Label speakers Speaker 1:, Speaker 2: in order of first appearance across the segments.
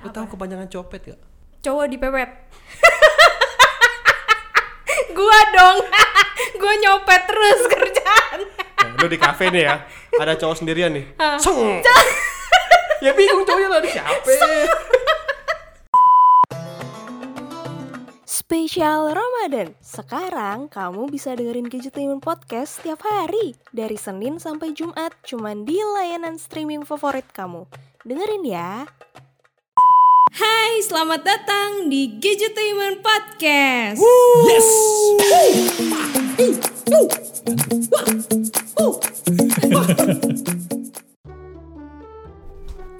Speaker 1: tahu kepanjangan copet gak?
Speaker 2: cowok dipepet gua dong gua nyopet terus kerjaan
Speaker 1: Nah, lu di kafe nih ya, ada cowok sendirian nih.
Speaker 2: Ah.
Speaker 1: Seng. ya bingung cowoknya tadi siapa. ya?"
Speaker 3: Spesial Ramadan. Sekarang kamu bisa dengerin Gadgetainment Podcast setiap hari dari Senin sampai Jumat cuman di layanan streaming favorit kamu. Dengerin ya.
Speaker 2: hai selamat datang di Gadgetainment Podcast
Speaker 1: Yes.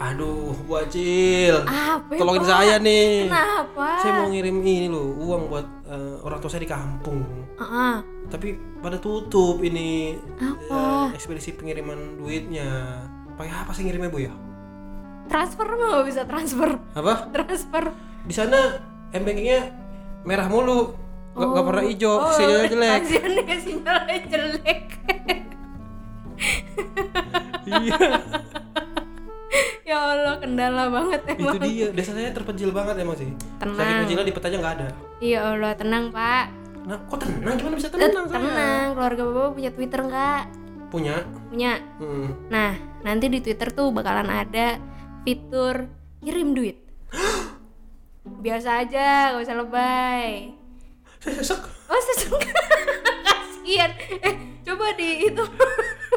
Speaker 1: Aduh, Wacil.
Speaker 2: apa
Speaker 1: Tolongin
Speaker 2: Pak?
Speaker 1: saya nih.
Speaker 2: kenapa
Speaker 1: Saya mau ngirim ini loh, uang buat eh, orang tua saya di kampung.
Speaker 2: Ah,
Speaker 1: Tapi pada tutup ini
Speaker 2: Apa?
Speaker 1: eh, ekspedisi pengiriman duitnya. Pakai apa sih ngirimnya, Bu ya?
Speaker 2: transfer mah nggak bisa transfer
Speaker 1: Apa?
Speaker 2: transfer
Speaker 1: di sana m bankingnya merah mulu nggak nggak
Speaker 2: Oh.
Speaker 1: pernah hijau sinyalnya jelek
Speaker 2: Hasilnya sinyalnya jelek
Speaker 1: iya
Speaker 2: ya Allah kendala banget
Speaker 1: itu
Speaker 2: emang
Speaker 1: dia desanya terpencil banget emang sih
Speaker 2: Tenang.
Speaker 1: saking kecilnya di petanya nggak ada
Speaker 2: ya Allah tenang pak
Speaker 1: nah kok tenang gimana bisa
Speaker 2: Eh,
Speaker 1: tenang saya
Speaker 2: tenang keluarga bapak punya Twitter nggak
Speaker 1: punya
Speaker 2: punya
Speaker 1: hmm.
Speaker 2: nah nanti di Twitter tuh bakalan ada fitur kirim duit biasa aja gak usah lebay
Speaker 1: saya sesek
Speaker 2: oh sesuka kasian eh coba di itu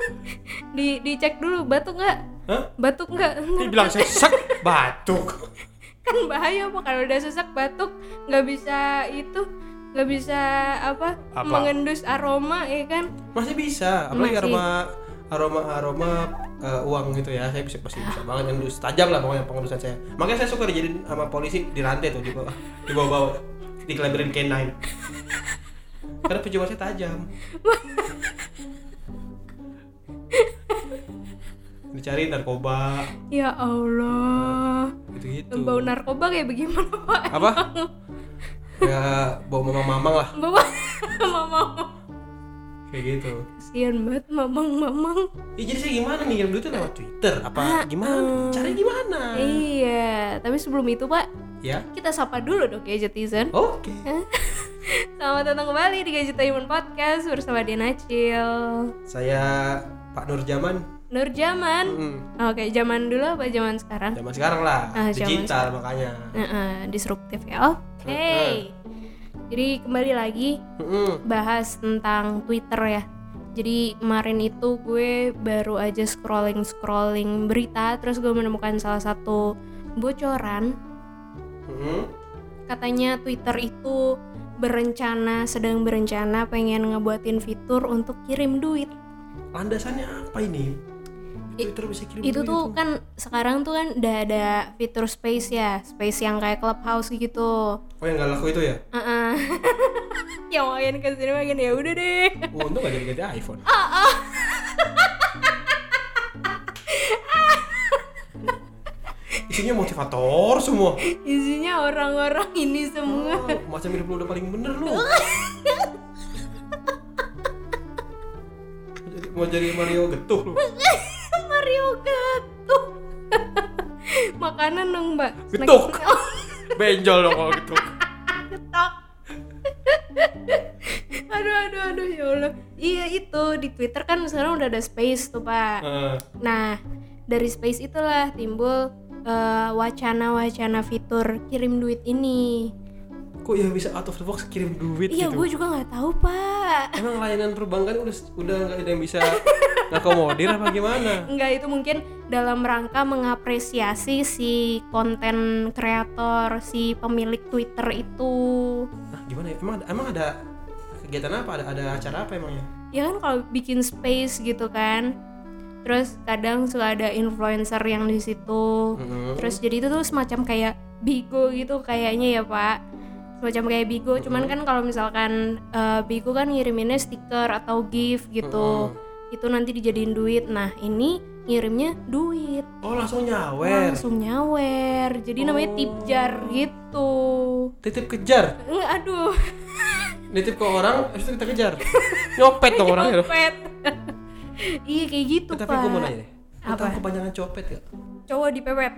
Speaker 2: di dicek dulu batuk nggak
Speaker 1: Hah?
Speaker 2: batuk
Speaker 1: Kan
Speaker 2: nggak
Speaker 1: dia bilang saya sesek batuk
Speaker 2: kan bahaya pak kalau udah sesak batuk nggak bisa itu nggak bisa apa,
Speaker 1: Apa?
Speaker 2: mengendus aroma ya kan
Speaker 1: masih bisa apalagi
Speaker 2: Masih.
Speaker 1: aroma aroma aroma eh, uang gitu ya saya bisa pasti bisa banget ngendus tajam lah pokoknya pengendusan saya makanya saya suka dijadiin sama polisi di rantai tuh di bawah di bawah bawah dikelabirin canine karena pejuang saya tajam dicari narkoba
Speaker 2: ya Allah
Speaker 1: gitu gitu
Speaker 2: bau narkoba kayak bagaimana pak
Speaker 1: apa ya bawa mamang mamang lah
Speaker 2: bawa mamang
Speaker 1: kayak gitu
Speaker 2: kasian banget mamang mamang
Speaker 1: Ih, jadi saya gimana nih ngirim duitnya lewat Twitter apa gimana cari gimana
Speaker 2: Ah, iya tapi sebelum itu pak
Speaker 1: ya
Speaker 2: kita sapa dulu dong ya Jetizen
Speaker 1: Oke.
Speaker 2: Selamat datang kembali di Gadgetainment Podcast bersama Diana Cil
Speaker 1: Saya Pak Nur Jaman.
Speaker 2: Nur Jaman
Speaker 1: Mm,
Speaker 2: Oke, zaman dulu apa zaman sekarang?
Speaker 1: zaman sekarang lah,
Speaker 2: Ah, zaman
Speaker 1: digital makanya.
Speaker 2: Heeh, disruptif ya. Oke. Jadi kembali lagi
Speaker 1: Mm-mm.
Speaker 2: bahas tentang Twitter ya. Jadi kemarin itu gue baru aja scrolling scrolling berita, terus gue menemukan salah satu bocoran
Speaker 1: Mm-mm.
Speaker 2: katanya Twitter itu berencana sedang berencana pengen ngebuatin fitur untuk kirim duit.
Speaker 1: Landasannya apa ini? Twitter bisa kirim gitu.
Speaker 2: itu
Speaker 1: duit
Speaker 2: tuh kan sekarang tuh kan udah ada fitur space ya, space yang kayak clubhouse gitu.
Speaker 1: Oh yang nggak laku itu ya?
Speaker 2: Heeh. yang makin kesini makin ya udah deh.
Speaker 1: Oh, untung nggak jadi-jadi iPhone. Isinya motivator semua.
Speaker 2: Isinya orang-orang ini semua.
Speaker 1: Oh, masa mirip lu udah paling bener lu. Jadi- Mau jadi Mario getuh lu.
Speaker 2: Mario ketuk. Makanan dong, Mbak. Snack-
Speaker 1: Getuk.
Speaker 2: Oh,
Speaker 1: Benjol dong kalau gitu.
Speaker 2: getok. aduh, aduh, aduh, ya Allah. Iya itu di Twitter kan sekarang udah ada space tuh, Pak.
Speaker 1: Heeh.
Speaker 2: Nah, dari space itulah timbul eh, wacana-wacana fitur kirim duit ini.
Speaker 1: kok ya bisa out of the box kirim duit
Speaker 2: Iya,
Speaker 1: gitu
Speaker 2: gue juga nggak tahu, Pak.
Speaker 1: emang layanan perbankan udah udah nggak ada yang bisa ngakomodir apa gimana
Speaker 2: Enggak itu mungkin dalam rangka mengapresiasi si konten kreator si pemilik Twitter itu.
Speaker 1: nah gimana ya emang emang ada kegiatan apa ada ada acara apa emangnya
Speaker 2: Ya kan kalau bikin space gitu kan. Terus kadang suka ada influencer yang di situ.
Speaker 1: Mm-mm.
Speaker 2: Terus jadi itu tuh semacam kayak bigo gitu kayaknya ya, Pak. Semacam kayak bigo, cuman kan kalau misalkan eh, bigo kan ngiriminnya stiker atau gift gitu. Itu nanti dijadiin duit. Nah, ini ngirimnya duit.
Speaker 1: oh langsung nyawer
Speaker 2: langsung nyawer jadi namanya tipjar gitu
Speaker 1: titip kejar
Speaker 2: Nggak, aduh
Speaker 1: nitip ke orang habis itu kita kejar nyopet dong orangnya dong
Speaker 2: copet iya kayak gitu
Speaker 1: Eh, tapi
Speaker 2: pak
Speaker 1: gue mau nanya deh Lu
Speaker 2: Apa?
Speaker 1: tahu kepanjangan copet gak?
Speaker 2: cowok dipepet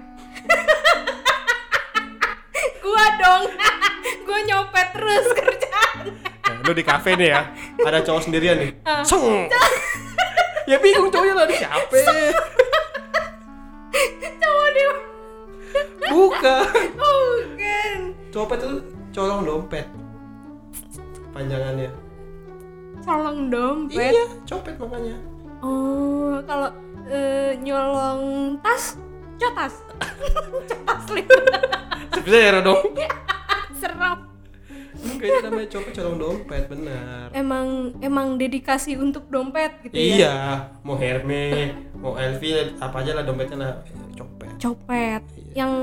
Speaker 2: dong gue nyopet terus kerjaan
Speaker 1: Nah, lu di kafe nih ya, ada cowok sendirian nih.
Speaker 2: Ah.
Speaker 1: Seng. ya bingung cowoknya lah ini siapa?
Speaker 2: cowok Oh, dia
Speaker 1: Bukan.
Speaker 2: bukan
Speaker 1: Copet itu colong dompet. Panjangannya.
Speaker 2: colong dompet
Speaker 1: Iya, copet makanya.
Speaker 2: oh kalau eh, nyolong tas cotas cotas lipat
Speaker 1: Sebenarnya dong.
Speaker 2: serem
Speaker 1: Kayaknya namanya copet colong dompet benar.
Speaker 2: emang emang dedikasi untuk dompet gitu ya
Speaker 1: Iya, mau Hermes, mau Elvi, apa aja lah dompetnya lah copet.
Speaker 2: copet yang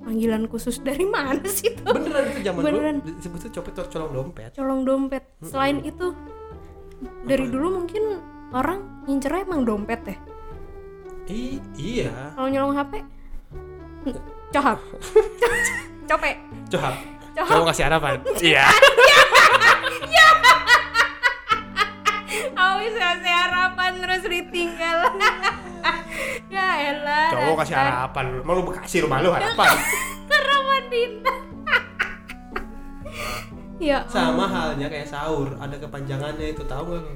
Speaker 2: panggilan khusus dari mana sih itu
Speaker 1: Beneran itu zaman
Speaker 2: Beneran.
Speaker 1: dulu disebutnya copet col- colong dompet.
Speaker 2: colong dompet selain itu dari dulu mungkin orang ngincernya emang dompet deh
Speaker 1: I- iya,
Speaker 2: kalau nyolong HP n- cohab copet
Speaker 1: coba.
Speaker 2: Coba.
Speaker 1: Kamu kasih harapan. Iya.
Speaker 2: awis kasih harapan terus ditinggal ya elah
Speaker 1: Cowok kasih harapan. Emang lu kasih rumah lu harapan.
Speaker 2: harapan Dinda ya
Speaker 1: Sama halnya kayak sahur, ada kepanjangannya itu tahu nggak? lu?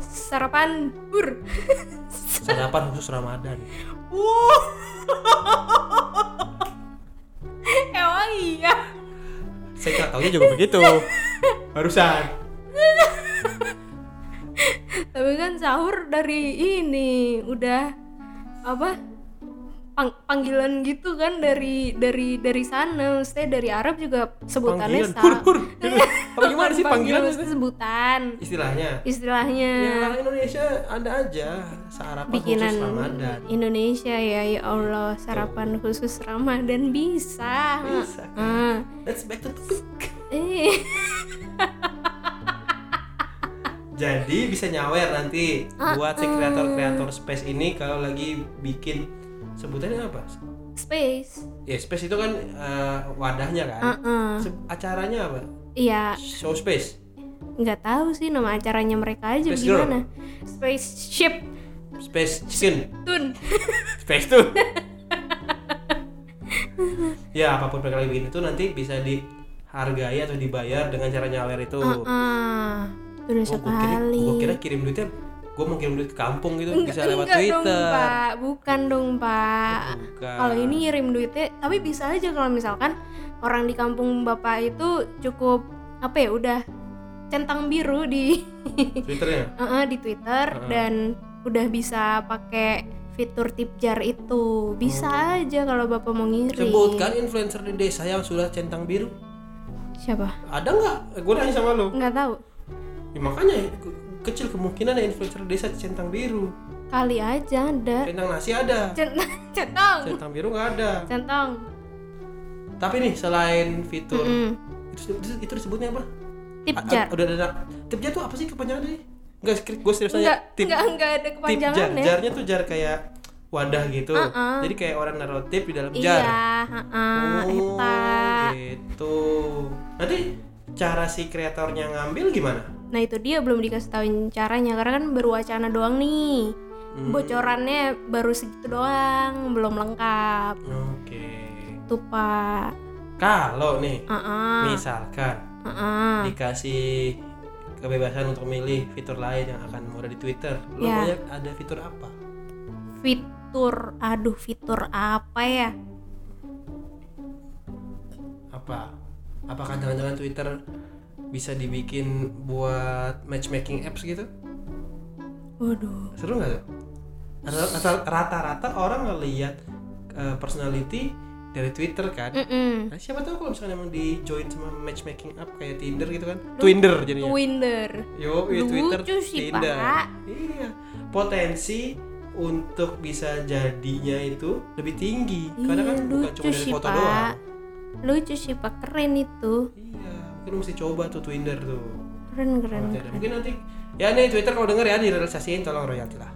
Speaker 2: sarapan bur
Speaker 1: Sarapan khusus Ramadan.
Speaker 2: wow emang iya
Speaker 1: Saya nggak taunya juga begitu. Barusan.
Speaker 2: Tapi kan sahur dari ini udah apa pang- panggilan gitu kan dari dari dari sana, maksudnya dari Arab juga sebutannya
Speaker 1: Panggilan.
Speaker 2: sa-
Speaker 1: Hur, hur. Gitu. Apa gimana sih panggilan?
Speaker 2: maksudnya sebutan
Speaker 1: Istilahnya.
Speaker 2: istilahnya
Speaker 1: Ya, orang Indonesia ada aja sarapan
Speaker 2: Eh. bikinan
Speaker 1: khusus Ramadan.
Speaker 2: Indonesia ya ya Allah sarapan khusus Ramadan bisa.
Speaker 1: Bisa.
Speaker 2: Ah.
Speaker 1: Let's back to topic.
Speaker 2: Eh.
Speaker 1: Jadi bisa nyawer nanti buat si kreator-kreator space ini kalau lagi bikin sebutannya apa?
Speaker 2: Space.
Speaker 1: Ya space itu kan eh, wadahnya kan.
Speaker 2: Heeh.
Speaker 1: Se- acaranya apa?
Speaker 2: Iya,
Speaker 1: Show space.
Speaker 2: nggak tahu sih nama acaranya mereka aja
Speaker 1: Space Girl.
Speaker 2: gimana. Spaceship
Speaker 1: Space chicken.
Speaker 2: Tun.
Speaker 1: Space tuh. ya apapun mereka lagi bikin itu nanti bisa dihargai atau dibayar dengan cara nyawer itu.
Speaker 2: Ah, bener
Speaker 1: Oh, Gua- gua kira,
Speaker 2: sekali.
Speaker 1: gua kira kirim duitnya gue mau kirim duit ke kampung gitu
Speaker 2: Enggak-
Speaker 1: bisa lewat
Speaker 2: enggak
Speaker 1: Twitter. Oh,
Speaker 2: dong, Pak. Bukan dong, Pak.
Speaker 1: Bukan.
Speaker 2: Kalau ini ngirim duitnya, tapi bisa aja kalau misalkan orang di kampung Bapak itu cukup apa ya, udah centang biru di
Speaker 1: Twitternya.
Speaker 2: Heeh, di Twitter
Speaker 1: Heeh.
Speaker 2: dan udah bisa pakai fitur tipjar itu. Bisa
Speaker 1: Oh,
Speaker 2: aja kalau Bapak mau ngirim.
Speaker 1: Sebutkan influencer di desa yang sudah centang biru.
Speaker 2: Siapa?
Speaker 1: Ada nggak? Gue nanya sama lo.
Speaker 2: Nggak tahu.
Speaker 1: Ya, makanya ke- kecil kemungkinan ada influencer di desa centang biru.
Speaker 2: Kali aja ada.
Speaker 1: Centang nasi ada,
Speaker 2: Centang. Eh. Centang.
Speaker 1: centang biru nggak ada.
Speaker 2: Centang.
Speaker 1: Tapi nih selain fitur
Speaker 2: Mm.
Speaker 1: itu, itu, itu disebutnya apa? A-
Speaker 2: Tipjar.
Speaker 1: a- Ah, udah ada. Tipjar tuh apa sih kepanjangannya? Enggak, gue serius aja.
Speaker 2: Enggak, enggak, enggak ada
Speaker 1: tip jar.
Speaker 2: kepanjangan ya.
Speaker 1: Jarnya tuh jar kayak wadah gitu.
Speaker 2: Uh-uh.
Speaker 1: Jadi kayak orang naruh tip di dalam
Speaker 2: Iya,
Speaker 1: jar.
Speaker 2: heeh, eta.
Speaker 1: Oh, gitu. Nanti cara si kreatornya ngambil gimana?
Speaker 2: Nah, itu dia belum dikasih tahuin caranya karena kan baru wacana doang nih.
Speaker 1: Hmm.
Speaker 2: Bocorannya baru segitu doang, belum lengkap.
Speaker 1: Oke.
Speaker 2: Tuh, Pak.
Speaker 1: Kalau nih,
Speaker 2: Heeh.
Speaker 1: misalkan
Speaker 2: Heeh.
Speaker 1: dikasih kebebasan untuk milih fitur lain yang akan muncul di Twitter, lo
Speaker 2: Ya.
Speaker 1: maunya ada fitur apa?
Speaker 2: Fitur, aduh fitur apa ya?
Speaker 1: Apa? Apakah jangan-jangan Twitter bisa dibikin buat matchmaking apps gitu?
Speaker 2: Waduh.
Speaker 1: Seru nggak tuh? Atau- atau Rata-rata orang ngelihat eh, personality dari Twitter kan?
Speaker 2: Mm-mm.
Speaker 1: Nah, siapa tahu kalau misalnya emang di join sama matchmaking up kayak Tinder gitu kan. Twinder jadinya.
Speaker 2: Twinder.
Speaker 1: Yo, iya,
Speaker 2: Lucu
Speaker 1: Twitter
Speaker 2: sih,
Speaker 1: Tinder.
Speaker 2: Pak.
Speaker 1: Iya. Potensi untuk bisa jadinya itu lebih tinggi. Karena
Speaker 2: Iya,
Speaker 1: kan bukan cuma
Speaker 2: lucu
Speaker 1: dari
Speaker 2: sih,
Speaker 1: foto doang.
Speaker 2: Pak. Lucu sih, Pak. Keren itu.
Speaker 1: Iya, mungkin mesti coba tuh Twinder tuh.
Speaker 2: Keren, keren.
Speaker 1: Kalau tidak, Mungkin nanti ya nih Twitter kalau denger ya direalisasiin tolong royalti lah.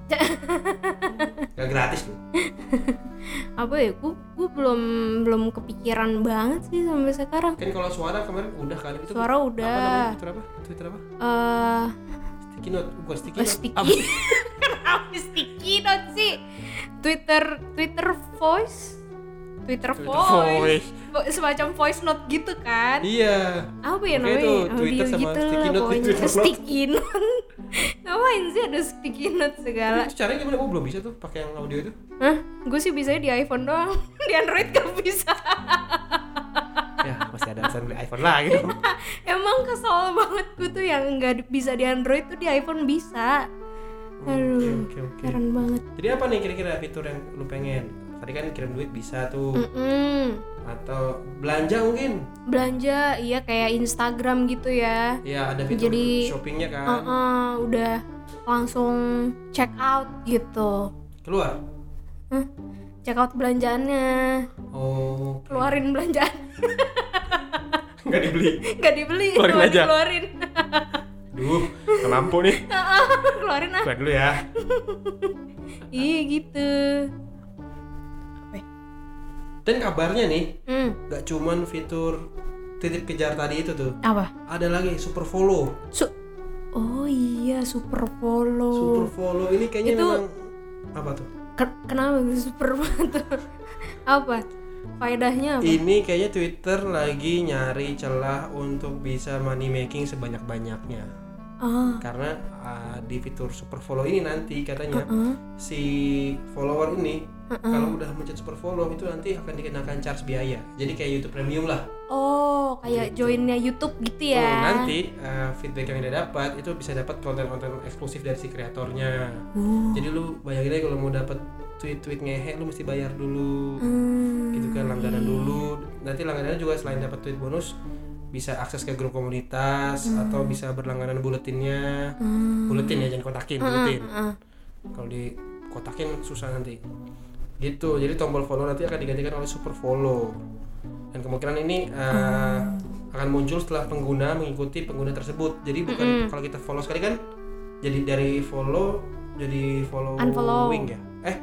Speaker 1: Gak gratis tuh.
Speaker 2: apa ya gue belum belum kepikiran banget sih sampai sekarang
Speaker 1: Kan kalau suara kemarin udah kan itu
Speaker 2: Suara
Speaker 1: apa
Speaker 2: udah.
Speaker 1: namanya? Twitter apa? Twitter apa?
Speaker 2: eh
Speaker 1: Sticky note, bukan sticky
Speaker 2: eh,
Speaker 1: note.
Speaker 2: sticky kenapa sticky note sih Twitter Twitter voice Twitter,
Speaker 1: Twitter
Speaker 2: voice,
Speaker 1: voice.
Speaker 2: Vo- semacam voice note gitu kan
Speaker 1: iya
Speaker 2: apa ya
Speaker 1: Oke,
Speaker 2: namanya
Speaker 1: itu
Speaker 2: audio
Speaker 1: Twitter sama
Speaker 2: gitu
Speaker 1: sticky
Speaker 2: lah
Speaker 1: note,
Speaker 2: pokoknya
Speaker 1: Twitter note.
Speaker 2: sticky note ngapain sih ada sticky note segala
Speaker 1: Itu caranya gimana? Oh belum bisa tuh pakai yang audio itu.
Speaker 2: Hah? gue sih bisanya di iPhone doang di Android gak bisa
Speaker 1: ya masih ada alasan beli iPhone gitu. lagi dong.
Speaker 2: emang kesel banget gue tuh yang nggak di- bisa di Android tuh di iPhone bisa
Speaker 1: Oke
Speaker 2: aduh
Speaker 1: oke oke.
Speaker 2: keren banget
Speaker 1: Jadi apa nih kira-kira fitur yang lu pengen? Tadi kan kirim duit bisa tuh
Speaker 2: Mm. Mm-mm.
Speaker 1: atau belanja mungkin.
Speaker 2: belanja iya kayak Instagram gitu ya
Speaker 1: Ya ada fitur
Speaker 2: Jadi- Oh,
Speaker 1: shoppingnya kan.
Speaker 2: Heeh, udah langsung check out gitu
Speaker 1: Keluar.
Speaker 2: Hah? check out belanjaannya
Speaker 1: Oh. oke.
Speaker 2: keluarin belanjaan
Speaker 1: Nggak dibeli.
Speaker 2: nggak dibeli
Speaker 1: Keluarin
Speaker 2: cuma
Speaker 1: aja.
Speaker 2: dikeluarin
Speaker 1: Duh, nggak mampu nih.
Speaker 2: keluarin ah
Speaker 1: Keluar dulu ya.
Speaker 2: iya gitu
Speaker 1: Dan kabarnya nih,
Speaker 2: hmm
Speaker 1: nggak cuman fitur titip kejar tadi itu tuh.
Speaker 2: apa
Speaker 1: Ada lagi super follow.
Speaker 2: Su oh iya super follow
Speaker 1: Super follow ini kayaknya
Speaker 2: Oh. Itu-
Speaker 1: memang apa tuh?
Speaker 2: Ken- kenapa gue super banget apa faedahnya apa
Speaker 1: Ini kayaknya Twitter lagi nyari celah untuk bisa money making sebanyak-banyaknya.
Speaker 2: ah
Speaker 1: Karena uh, di fitur super follow ini nanti katanya
Speaker 2: ah,
Speaker 1: si follower ini kalau udah mencet super follow itu nanti akan dikenakan charge biaya. Jadi kayak YouTube Premium lah.
Speaker 2: oh kayak joinnya YouTube gitu ya
Speaker 1: Oh, nanti uh, feedback yang dia dapat itu bisa dapat konten-konten eksklusif dari si kreatornya.
Speaker 2: Oh.
Speaker 1: Jadi lu bayangin aja kalau mau dapat tweet-tweet ngehe lu mesti bayar dulu.
Speaker 2: Hmm,
Speaker 1: gitu kan langganan dulu nanti langganannya juga selain dapat tweet bonus bisa akses ke grup komunitas atau bisa berlangganan buletinnya
Speaker 2: hmm.
Speaker 1: buletin ya jangan kotakin buletin kalau di kotakin susah nanti gitu jadi tombol follow nanti akan digantikan oleh super follow dan kemungkinan ini eh,
Speaker 2: Hmm.
Speaker 1: akan muncul setelah pengguna mengikuti pengguna tersebut jadi bukan
Speaker 2: Hmm.
Speaker 1: kalau kita follow sekali kan jadi dari follow jadi following
Speaker 2: Unfollow.
Speaker 1: ya eh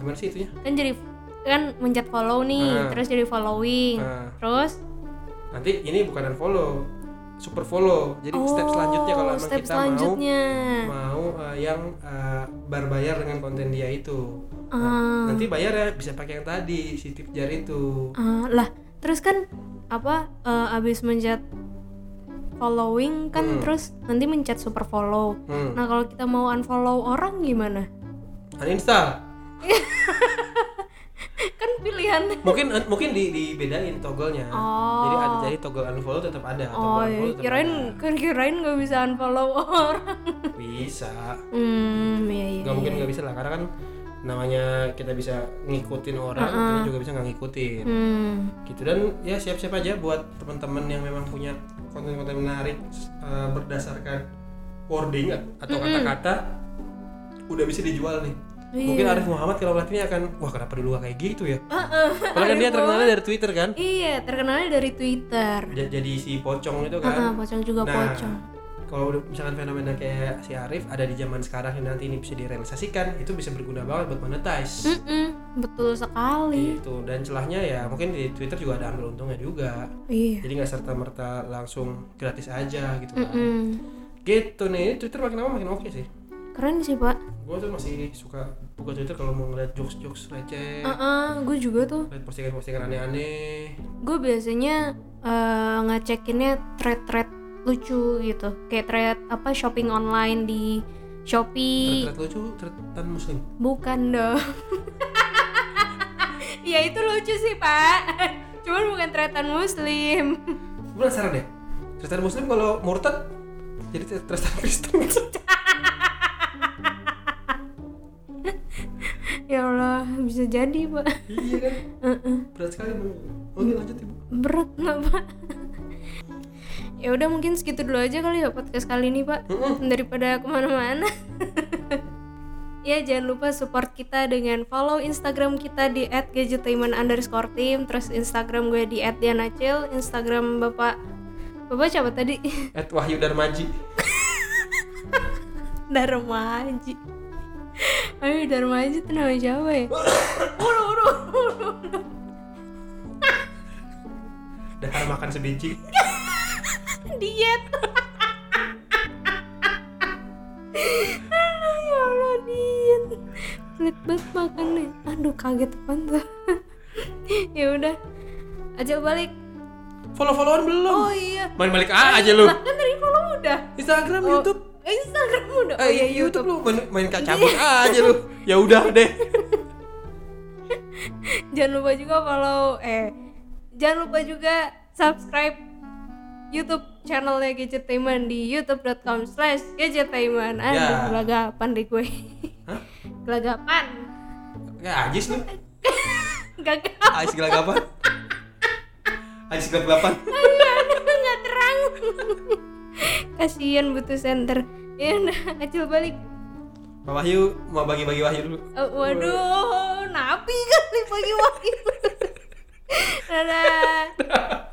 Speaker 1: gimana sih itunya
Speaker 2: kan jadi kan mencet follow
Speaker 1: Ah.
Speaker 2: nih terus jadi following
Speaker 1: Ah.
Speaker 2: terus
Speaker 1: nanti ini bukan unfollow super follow jadi step
Speaker 2: Oh,
Speaker 1: selanjutnya kalau emang
Speaker 2: step
Speaker 1: kita
Speaker 2: selanjutnya
Speaker 1: mau mau eh, yang eh, berbayar dengan konten dia itu Nah,
Speaker 2: Ah.
Speaker 1: nanti bayar ya bisa pakai yang tadi si tip jar itu
Speaker 2: Ah, lah terus kan apa eh, abis mencet following kan terus nanti mencet super follow
Speaker 1: hmm.
Speaker 2: nah kalau kita mau unfollow orang gimana
Speaker 1: uninstall
Speaker 2: kan pilihan
Speaker 1: mungkin eh, mungkin di, dibedain togglenya
Speaker 2: Oh.
Speaker 1: jadi ada jadi toggle unfollow tetap ada
Speaker 2: oh
Speaker 1: toggle unfollow
Speaker 2: iya.
Speaker 1: tetap
Speaker 2: kirain
Speaker 1: ada.
Speaker 2: kirain gak bisa unfollow orang
Speaker 1: bisa
Speaker 2: hmm iya iya
Speaker 1: nggak mungkin nggak bisa lah karena kan namanya kita bisa ngikutin orang
Speaker 2: Ah,
Speaker 1: kita juga bisa nggak ngikutin
Speaker 2: hmm
Speaker 1: gitu dan ya siap-siap aja buat teman-teman yang memang punya konten-konten menarik eh, berdasarkan wording atau kata-kata udah bisa dijual nih
Speaker 2: Iya.
Speaker 1: mungkin Arif Muhammad kalau ngeliat ini akan wah kenapa dulu gak kayak gitu ya padahal kan dia terkenalnya dari Twitter kan
Speaker 2: iya terkenalnya dari twitter
Speaker 1: Ja- jadi si pocong itu
Speaker 2: Ah, ah,
Speaker 1: kan
Speaker 2: pocong juga
Speaker 1: nah
Speaker 2: pocong
Speaker 1: kalau udah- misalkan fenomena kayak si Arif ada di zaman sekarang yang nanti ini bisa direalisasikan itu bisa berguna banget buat monetize
Speaker 2: Mm-mm, betul sekali
Speaker 1: gitu dan celahnya ya mungkin di Twitter juga ada ambil untungnya juga
Speaker 2: iya
Speaker 1: jadi nggak serta merta langsung gratis aja gitu kan
Speaker 2: Mm-mm.
Speaker 1: gitu nih Twitter makin lama makin oke sih
Speaker 2: keren sih pak
Speaker 1: gue tuh masih suka buka Twitter kalau mau ngeliat jokes jokes receh
Speaker 2: Ah, ah, gue juga tuh
Speaker 1: lihat postingan postingan aneh aneh
Speaker 2: gue biasanya eh, ngecekinnya thread-thread lucu gitu kayak thread apa shopping online di Shopee
Speaker 1: thread lucu thread tan muslim
Speaker 2: bukan dong ya itu lucu sih pak cuman bukan tretan muslim
Speaker 1: gue penasaran deh thread tan muslim kalau murtad jadi thread thread tan Kristen
Speaker 2: ya Allah bisa jadi pak
Speaker 1: iya kan berat sekali Bu. oke lanjut ibu
Speaker 2: berat nggak pak ya udah mungkin segitu dulu aja kali ya podcast kali ini pak daripada kemana-mana ya jangan lupa support kita dengan follow instagram kita di @gadgetainment underscore team terus instagram gue di @dianacil instagram bapak bapak siapa tadi
Speaker 1: at Wahyu Darmaji
Speaker 2: Dharma Haji ayo Dharma Haji itu nama siapa ya Ulu, ulu, ulu, ulu.
Speaker 1: dahar makan sebiji
Speaker 2: diet Aduh, ya Allah diet pelit banget makannya aduh kaget banget ya udah ajak balik
Speaker 1: follow followan belum
Speaker 2: oh iya
Speaker 1: main balik A aja lu
Speaker 2: kan tadi follow udah
Speaker 1: Instagram
Speaker 2: Oh,
Speaker 1: YouTube
Speaker 2: eh, Instagram udah iya,
Speaker 1: eh, YouTube, lu main, main kak cabut aja lu ya udah deh
Speaker 2: jangan lupa juga follow eh jangan lupa juga subscribe YouTube channelnya Gadgetainment di youtube.com slash gadgetainment Aduh,
Speaker 1: Ya.
Speaker 2: gelagapan deh gue
Speaker 1: Hah?
Speaker 2: Gelagapan
Speaker 1: kayak Ya, ajis lu
Speaker 2: Gagal
Speaker 1: ajis gelagapan ajis gelagapan
Speaker 2: Aduh, aduh, nggak terang Kasian butuh center Ya udah, kecil balik
Speaker 1: Pak Wahyu mau bagi-bagi Wahyu dulu
Speaker 2: Eh, Waduh, napi kali pagi-pagi Dadah